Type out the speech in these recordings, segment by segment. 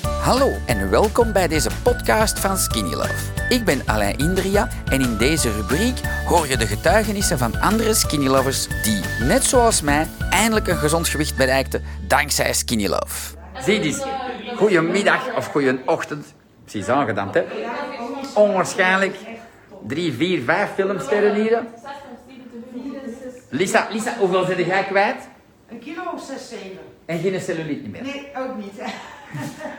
Hallo en welkom bij deze podcast van Skinny Love. Ik ben Alain Indria en in deze rubriek hoor je de getuigenissen van andere Skinny Lovers die, net zoals mij, eindelijk een gezond gewicht bereikten dankzij Skinny Love. Zie eens, goedemiddag of goeienochtend. Precies aangedampt, hè? Onwaarschijnlijk. Drie, vier, vijf filmsterren hier. Lisa, Lisa, hoeveel zit jij kwijt? Een kilo of 6, 7? En geen celluliet meer. Nee, ook niet.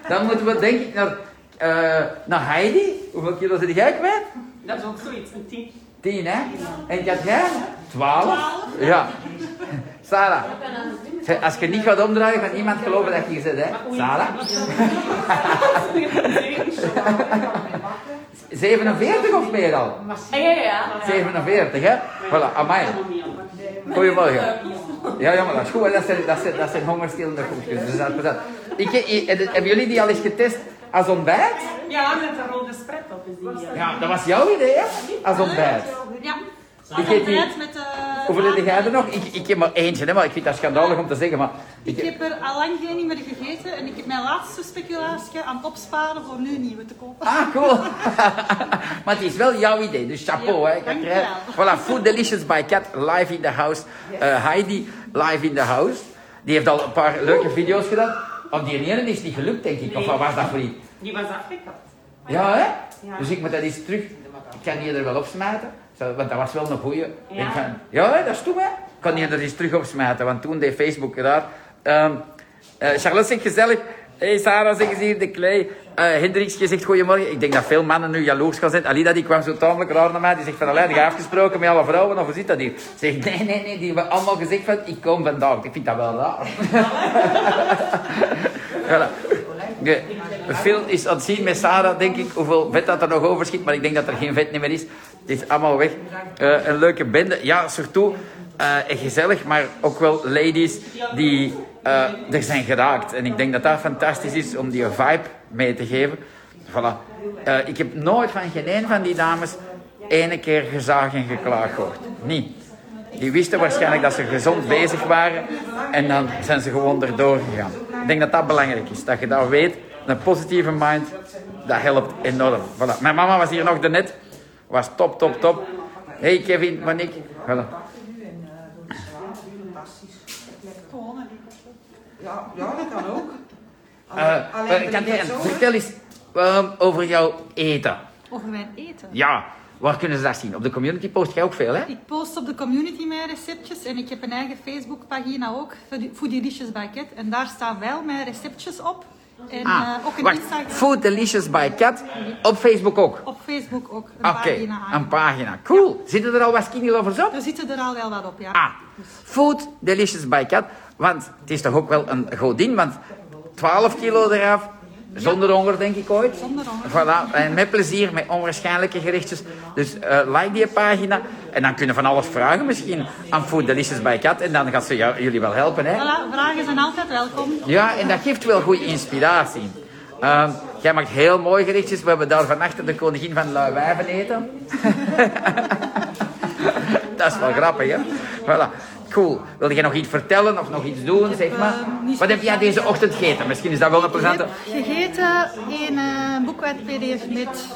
Dan moeten we denk ik naar, eh, naar Heidi. Hoeveel kilo zit jij kwijt? Dat is ook zoiets, een tien. Tien, hè? En Kat, jij? Twaalf. Ja. Sarah, nou, zeg, als je niet gaat omdraaien, gaat niemand geloven dat je hier zit, hè? Sarah? 47 of meer al? Ah, Ja, ja, ja. 47, hè? Voilà, amai. Goedemorgen. Ja, ja, maar dat is goed, hè. dat zijn, dat zijn, dat zijn hongerstillende groepjes. Dus dat is plezant. Ik, ik- hebben jullie die al eens getest als ontbijt? Ja, met een rode spread op is die. Ja. Ja, dat was jouw idee, hè? Als ontbijt. ja. Ik eet die- Altijd met eh, Hoeveel heb jij er nog? Ik, ik heb maar eentje, hè, maar ik vind dat schandalig om te zeggen. Maar ik, Ik heb er al lang geen meer gegeten en ik heb mijn laatste speculatie aan het opsparen voor nu nieuwe te kopen. Ah, cool. maar het is wel jouw idee, dus chapeau. Ja, hè. Kat, dankjewel. Voilà, Food Delicious by Cat, live in the house. Eh, Heidi, live in the house. Die heeft al een paar leuke video's gedaan. Of die ene is niet gelukt, denk ik. Of wat was dat voor iets? Die was afgekapt. Ja, hè? Dus ik moet dat eens terug... Ik kan die er wel opsmijten. Zo, Want dat was wel een goeie. Ik denk van, ja, hè, dat is toen, hè? Ik kan die er eens terug opsmijten, want toen deed Facebook raar. Ehm eh, Charlotte zegt gezellig... hey, Sarah, zeg eens hier, de klei. Eh Hendriksje zegt goedemorgen. Ik denk dat veel mannen nu jaloers gaan zijn. Alida, die kwam zo tamelijk raar naar mij. Die zegt van, Allee, heb je afgesproken met alle vrouwen? Of hoe zit dat hier? Ze Zegt, nee, nee, nee. Die hebben allemaal gezegd van, ik kom vandaag. Ik vind dat wel raar. Voilà. Ja, Phil is aan het zien met Sarah, denk ik, hoeveel vet dat er nog overschiet. Maar ik denk dat er geen vet meer is. Het is allemaal weg. Eh, een leuke bende. Ja, surtout eh, gezellig, maar ook wel ladies die eh, er zijn geraakt. En ik denk dat dat fantastisch is om die vibe mee te geven. Voilà. Eh, ik heb nooit van geen een van die dames ene keer gezaagd en geklaagd gehoord. Niet. Die wisten waarschijnlijk dat ze gezond bezig waren en dan zijn ze gewoon erdoor gegaan. Ik denk dat dat belangrijk is, dat je dat weet. Een positieve mind, dat helpt enorm. Voilà. Mijn mama was hier nog daarnet, was top, top, top. Hey Kevin, Monique. Voilà. Gewoon een Ja, ja, dat kan ook. Eh, eh, ben Katrijn, ik zo, hè? vertel eens ehm, over jouw eten. Over mijn eten. Ja, waar kunnen ze dat zien? Op de community post jij ook veel, hè? Ik post op de community mijn receptjes en ik heb een eigen Facebookpagina ook, Foodie Dishes by Cat. En daar staan wel mijn receptjes op. En eh, ook een Ah, wacht. Instagram. Food Delicious by Cat, op Facebook ook. Op Facebook ook een Oké, pagina aan. een pagina. Cool. Zitten er al wat skinny lovers op? Er zitten er al wel wat op, ja. Ah, Food Delicious by Kat. Want het is toch ook wel een godin, want 12 kilo eraf. Zonder honger, denk ik ooit. Zonder honger. Voilà, en met plezier, met onwaarschijnlijke gerechtjes. Dus eh, like die pagina. En dan kunnen van alles vragen misschien aan Food Delicious by Kat. En dan gaan ze jou, jullie wel helpen, hè? Voilà, vragen zijn altijd welkom. Ja, en dat geeft wel goede inspiratie. Ehm, jij maakt heel mooi gerechtjes. We hebben daar vannacht de koningin van Lui Wijven eten. dat is wel grappig, hè? Voilà. Cool. Wil jij nog iets vertellen of nog iets doen, zeg maar? eh, niet Wat heb jij speciaal. deze ochtend gegeten? Misschien is dat wel een plezante... Gegeten een eh boek uit PDF met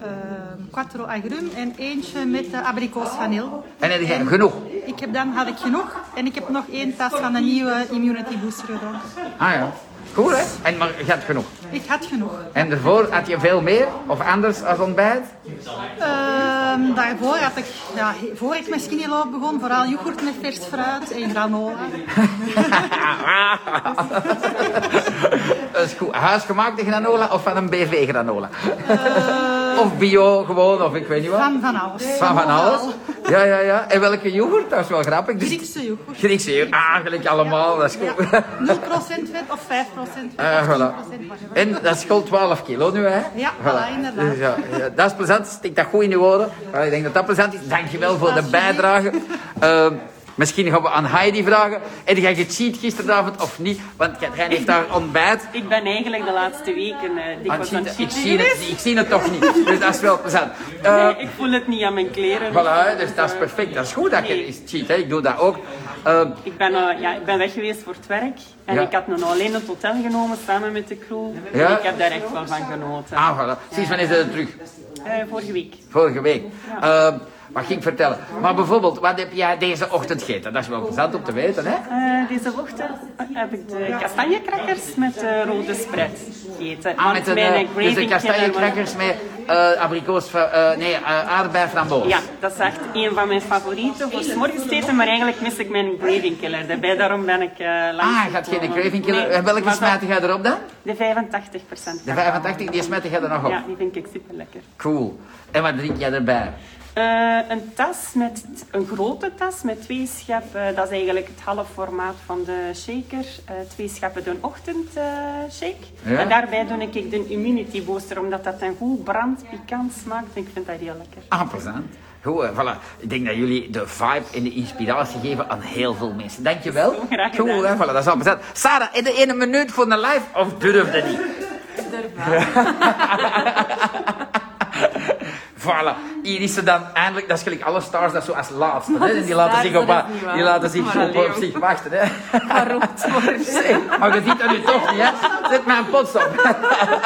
ehm quattro agrum en eentje met eh, abrikoos vanil. En heb jij genoeg? Ik heb dan had ik genoeg en ik heb nog één tas van een nieuwe immunity booster gedronken. Ah ja. Cool, hè? En maar je had genoeg. Ik had genoeg. En daarvoor had je veel meer of anders als ontbijt? Ehm, daarvoor had ik, ja, voor ik mijn skinny loop begon, vooral yoghurt met vers fruit en granola. Dat is goed. Huisgemaakte granola of van een BV granola? Eh. of bio gewoon, of ik weet niet wat. Van van alles. Van van alles. Ja, ja, ja. En welke yoghurt? Dat is wel grappig. Dus- Griekse yoghurt. Griekse yoghurt. Ah, gelijk allemaal. Dat is goed. Ja, 0% vet of 5% vet. Ah, voilà. 10% whatever. En dat is gewoon 12 kilo nu, hè? Ja, voilà, inderdaad. Dus ja, ja, dat is plezant. Stik dat goed in je woorden. Maar ik denk dat dat plezant is. Dankjewel voor de bijdrage. Ehm Misschien gaan we aan Heidi vragen. En jij gecheat gisteravond of niet? Want Katrijn heeft daar ontbijt. Ik ben eigenlijk de laatste weken eh Aan het dikwijls aan het cheaten. Ik cheaten. Ah, zie het, ik zie het toch niet. Dus dat is wel plezant. Eh, Nee, ik voel het niet aan mijn kleren. Voilà, dus eh, dat is perfect. Dat is goed dat je nee. is cheat. Hè? Ik doe dat ook. Ehm, Ik ben, eh, ja, ik ben weg geweest voor het werk. En Ja. ik had nog alleen het hotel genomen samen met de crew. Ja. En ik heb daar echt wel van genoten. ah, voilà. Sinds wanneer is het terug? Eh, vorige week. Vorige week. Ehm, wat ging ik vertellen? Maar bijvoorbeeld, wat heb jij deze ochtend gegeten? Dat is wel plezant om te weten, hè? Eh, deze ochtend heb ik de kastanjecrackers met eh, rode spread gegeten. Ah, Want met een, mijn eh, dus craving de killer was- kastanjecrackers met eh abrikoos, fra- eh, nee, eh, aardbei framboos. Ja, dat is echt een van mijn favorieten voor 's morgens te eten, maar eigenlijk mis ik mijn craving killer daarbij. Daarom ben ik eh langs Ah, gaat geen gekomen. craving killer. Nee, En welke maar dat- smijt jij erop dan? De 85 procent. De 85, die smijt jij er nog op. Ja, die vind ik super lekker. Cool. En wat drink jij erbij? Eh, een tas met, een grote tas met twee scheppen, eh, dat is eigenlijk het half formaat van de shaker. Eh, twee scheppen doen ochtendshake. Ja. En daarbij doe ik de immunity booster, omdat dat een goed brand, pikant smaakt. Ik vind dat heel lekker. Ah, plezant. Goed, eh, voilà. Ik denk dat jullie de vibe en de inspiratie geven aan heel veel mensen. Dankjewel. Zo graag gedaan. Cool, hè? Voilà, dat is al plezant. Sarah, in de ene minuut voor een live of durfde niet? Voilà, hier is ze dan eindelijk, dat is gelijk alle stars, dat zo als laatste. Hè? En die laten zich, op, dat is niet waar. die laten zich zo Maar op, Leo. op zich wachten. Hè? Waarom het wordt. Zeg, maar je ziet dat nu toch niet, hè? Zet mijn pot op.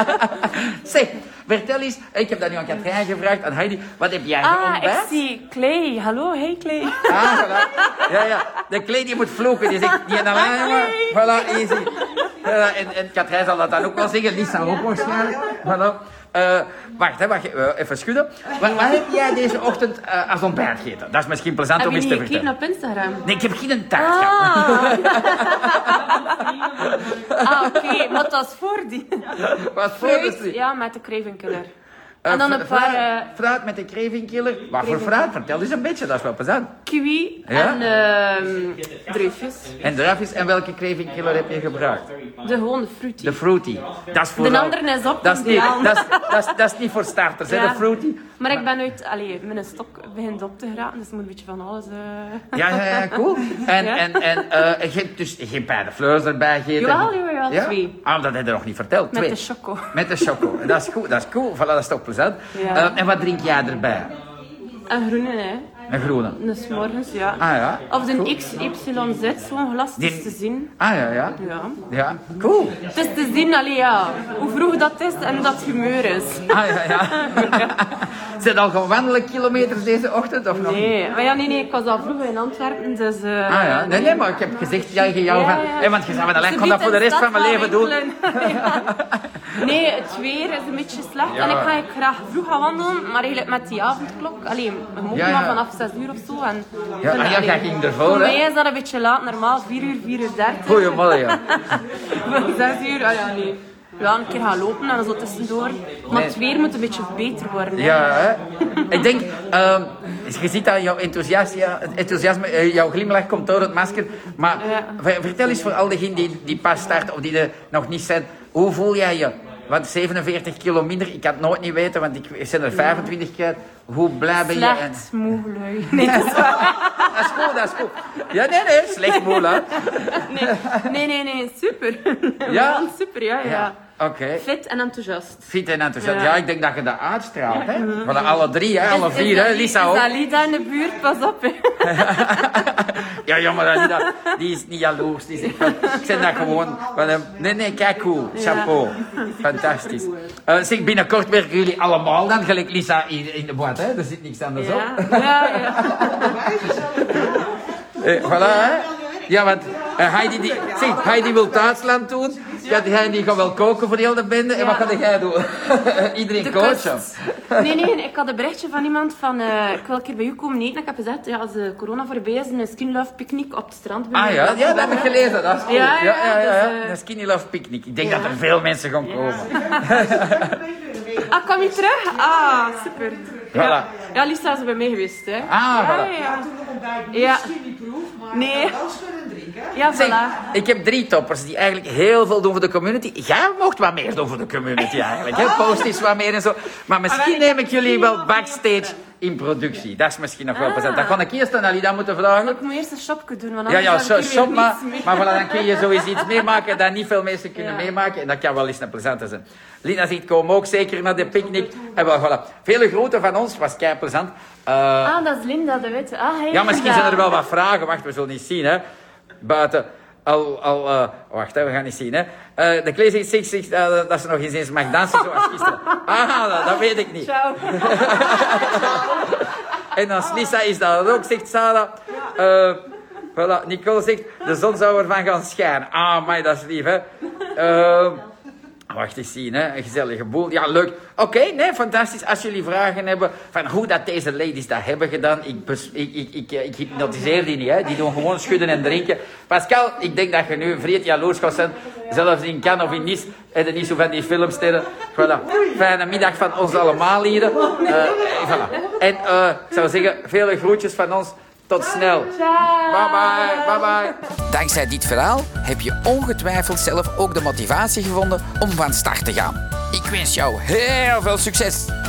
zeg, vertel eens, ik heb dat nu aan Katrijn gevraagd, aan Heidi, wat heb jij Ah, geontbijt? ik zie Clay. Hallo, hey Clay. Ah, voilà. Ja, ja. De kleed die moet vloeken. Die zegt, die en Ah, alleen maar. Voilà, easy. Ja, en, en Katrijn zal dat dan ook wel zeggen. Lisa ook waarschijnlijk. Voilà. Eh, wacht, hè, wacht eh, even schudden. Wat, wat heb jij deze ochtend eh, als ontbijt gegeten? Dat is misschien plezant Heb om je eens te niet gekeken vertellen. op Instagram? Nee, ik heb geen taart gehad. Ah, ah oké. Maar het was voor die. Wat voor Fruit, fruit? ja, met de Craven Killer. Eh, en dan fru- een paar fruit- eh, Fruit met de cravingkiller. Wat voor fruit? Vertel eens een beetje, dat is wel plezant. kiwi Ja? en ehm druifjes. En eraf is, en welke cravingkiller heb je gebruikt? De gewone fruity. De fruity. Dat is voor De andere is op. Dat is, niet, Ja. dat, is, dat, is, dat is niet voor starters, hè, Ja. de fruity. Maar ik ben uit, allee, mijn stok begint op te geraten, dus ik moet een beetje van alles. eh Ja, ja, ja, cool. En, Ja. en, en eh, en je hebt dus geen bij de fleurs erbij gegeten? Jawel, jawel, jawel, Ja? twee. Ah, dat heb je nog niet verteld. Met twee. de choco. Met de choco. Dat is goed, dat is cool. Voilà, dat is toch plezant. Ja. Eh, en wat drink jij erbij? Een groene, hè? Een groene. Een s'morgens, ja. Ah, ja. Of Goed. een XYZ, zo'n glas, het Die- is te zien. Ah, ja, ja. Ja. Ja, cool. Het is te zien, allee, ja. Hoe vroeg dat is en hoe dat humeur is. Ah, ja, ja. Zijn al gaan wandelen kilometers deze ochtend of nog niet? Nee, maar ja, nee, nee, ik was al vroeg in Antwerpen, dus... eh, Ah ja, nee, nee, maar ik heb gezegd tegen jou Ja, van... ja. Hé, want je zei van, alleen, ik ga Ze dat voor de biedt rest een van mijn leven stad doen. winkelen. Ja. nee, het weer is een beetje slecht en Ja. ik ga ik graag vroeg gaan wandelen, maar eigenlijk met die avondklok. Allee, we mogen Ja, ja. maar vanaf 6 uur of zo. En, Ja, en ah ja, allee, jij ging ervoor, Voor hè? mij is dat een beetje laat, normaal 4 uur, 4 uur 30. Goeiemorgen. Voor 6 uur, ah ja, nee. Ja, een keer gaan lopen en zo tussendoor. Maar Nee. het weer moet een beetje beter worden. hè. Ja, hè? ik denk, ehm, je ziet dat jouw enthousiasme, enthousiasme eh, jouw glimlach komt door het masker. Maar Ja. ver- vertel eens voor al diegenen die, die pas starten of die er nog niet zijn, hoe voel jij je? Want 47 kilo minder, ik kan het nooit niet weten, want ik ik ben er 25 kwijt. Hoe blij ben je? En- Slecht, moe, lui. Nee, dat is waar. Dat is goed, dat is goed. Ja, nee, nee, slecht moe, hè? Nee, nee, nee, nee, super. Ja? Wel Super, ja, ja. Oké. Fit en enthousiast. Fit en enthousiast. nou Ja. Ja. ik denk dat je dat uitstraalt, hè? Voilà, alle drie, hè? Alle Is- is vier, hè? dat- Lisa ook. Is dat Lida in de buurt? Pas op, hè. Ja, jammer, dat is dat- die is niet jaloers. Die zegt van, ik zeg dat gewoon. van, eh, nee, nee, kijk hoe. Chapeau. Fantastisch. Eh zeg, binnenkort werken jullie allemaal dan, gelijk Lisa in, in de boot, hè? Er zit niks anders op. Ja, ja, ja. Eh, voilà, hè? Ja, want eh, Heidi, die, zeg, Heidi wil Duitsland doen. Ja, die Heidi gaat wel koken voor heel de bende. En wat Ja. ga jij doen? Iedereen De coachen. kost. Nee, nee, ik had een berichtje van iemand van... eh, ik wil een keer bij u komen eten. Ik heb gezegd, ja, als de corona voorbij is, een skin love picknick op het strand. bij Ah u. ja, ja, dat heb ik gelezen. Dat is goed. Ja, ja, dus, eh, Een skinny love picnic. Ik denk ja. dat er veel mensen gaan komen. Ah, kom je terug? Ah, super. Ja, Voilà. ja Lisa is bij mij geweest, hè. Ah, ja, voilà. ja. toen nog ontbijt niet Ja. skinny proof, maar Nee. dan wel schudden drinken. Ja, Zeg, voilà. ik heb drie toppers die eigenlijk heel veel doen voor de community. Jij mocht wat Oh. meer doen voor de community eigenlijk. Hè? Post is wat meer en zo. Maar misschien neem ik jullie wel backstage in productie. Dat is misschien nog wel Ah. plezant. Dat ga ik eerst aan Alida moeten vragen. Ik moet eerst een shopje doen, want Ja, ja, anders heb shop, ik hier weer shop maar. niets meer. Maar voilà, dan kun je zoiets iets meemaken dat niet veel mensen kunnen Ja. meemaken. En dat kan wel eens een plezante zijn. Lina zegt, kom ook zeker naar de picknick. En wel, voilà. Vele groeten van ons, was kei plezant. Eh, Ah, dat is Linda, dat weet je. Ah, hey, ja, misschien Linda. zijn er wel wat vragen. Wacht, we zullen niet zien, hè. Buiten. Al, al, eh, wacht, hè, we gaan niet zien, hè. Eh, de Klee zegt, zegt, zegt, eh, dat ze nog eens eens mag dansen zoals gisteren. Ah, dat, dat weet ik niet. Ciao. En als Lisa is dat ook, zegt Sarah. Eh, voilà, Nicole zegt, de zon zou ervan gaan schijnen. Ah, maar dat is lief, hè. Eh, wacht eens zien, hè. Een gezellige boel. Ja, leuk. Oké, nee, fantastisch. Als jullie vragen hebben van hoe dat deze ladies dat hebben gedaan. Ik, bes- ik, ik, ik, eh, ik hypnotiseer die niet, hè. Die doen gewoon schudden en drinken. Pascal, ik denk dat je nu vreed jaloers gaat zijn. Zelfs in Cannes of in Nice. En niet zo van die filmsterren. Voilà. Fijne middag van ons allemaal hier. Eh, voilà. En eh, ik zou zeggen, vele groetjes van ons. Tot snel. Bye bye. Bye bye. Dankzij dit verhaal heb je ongetwijfeld zelf ook de motivatie gevonden om van start te gaan. Ik wens jou heel veel succes!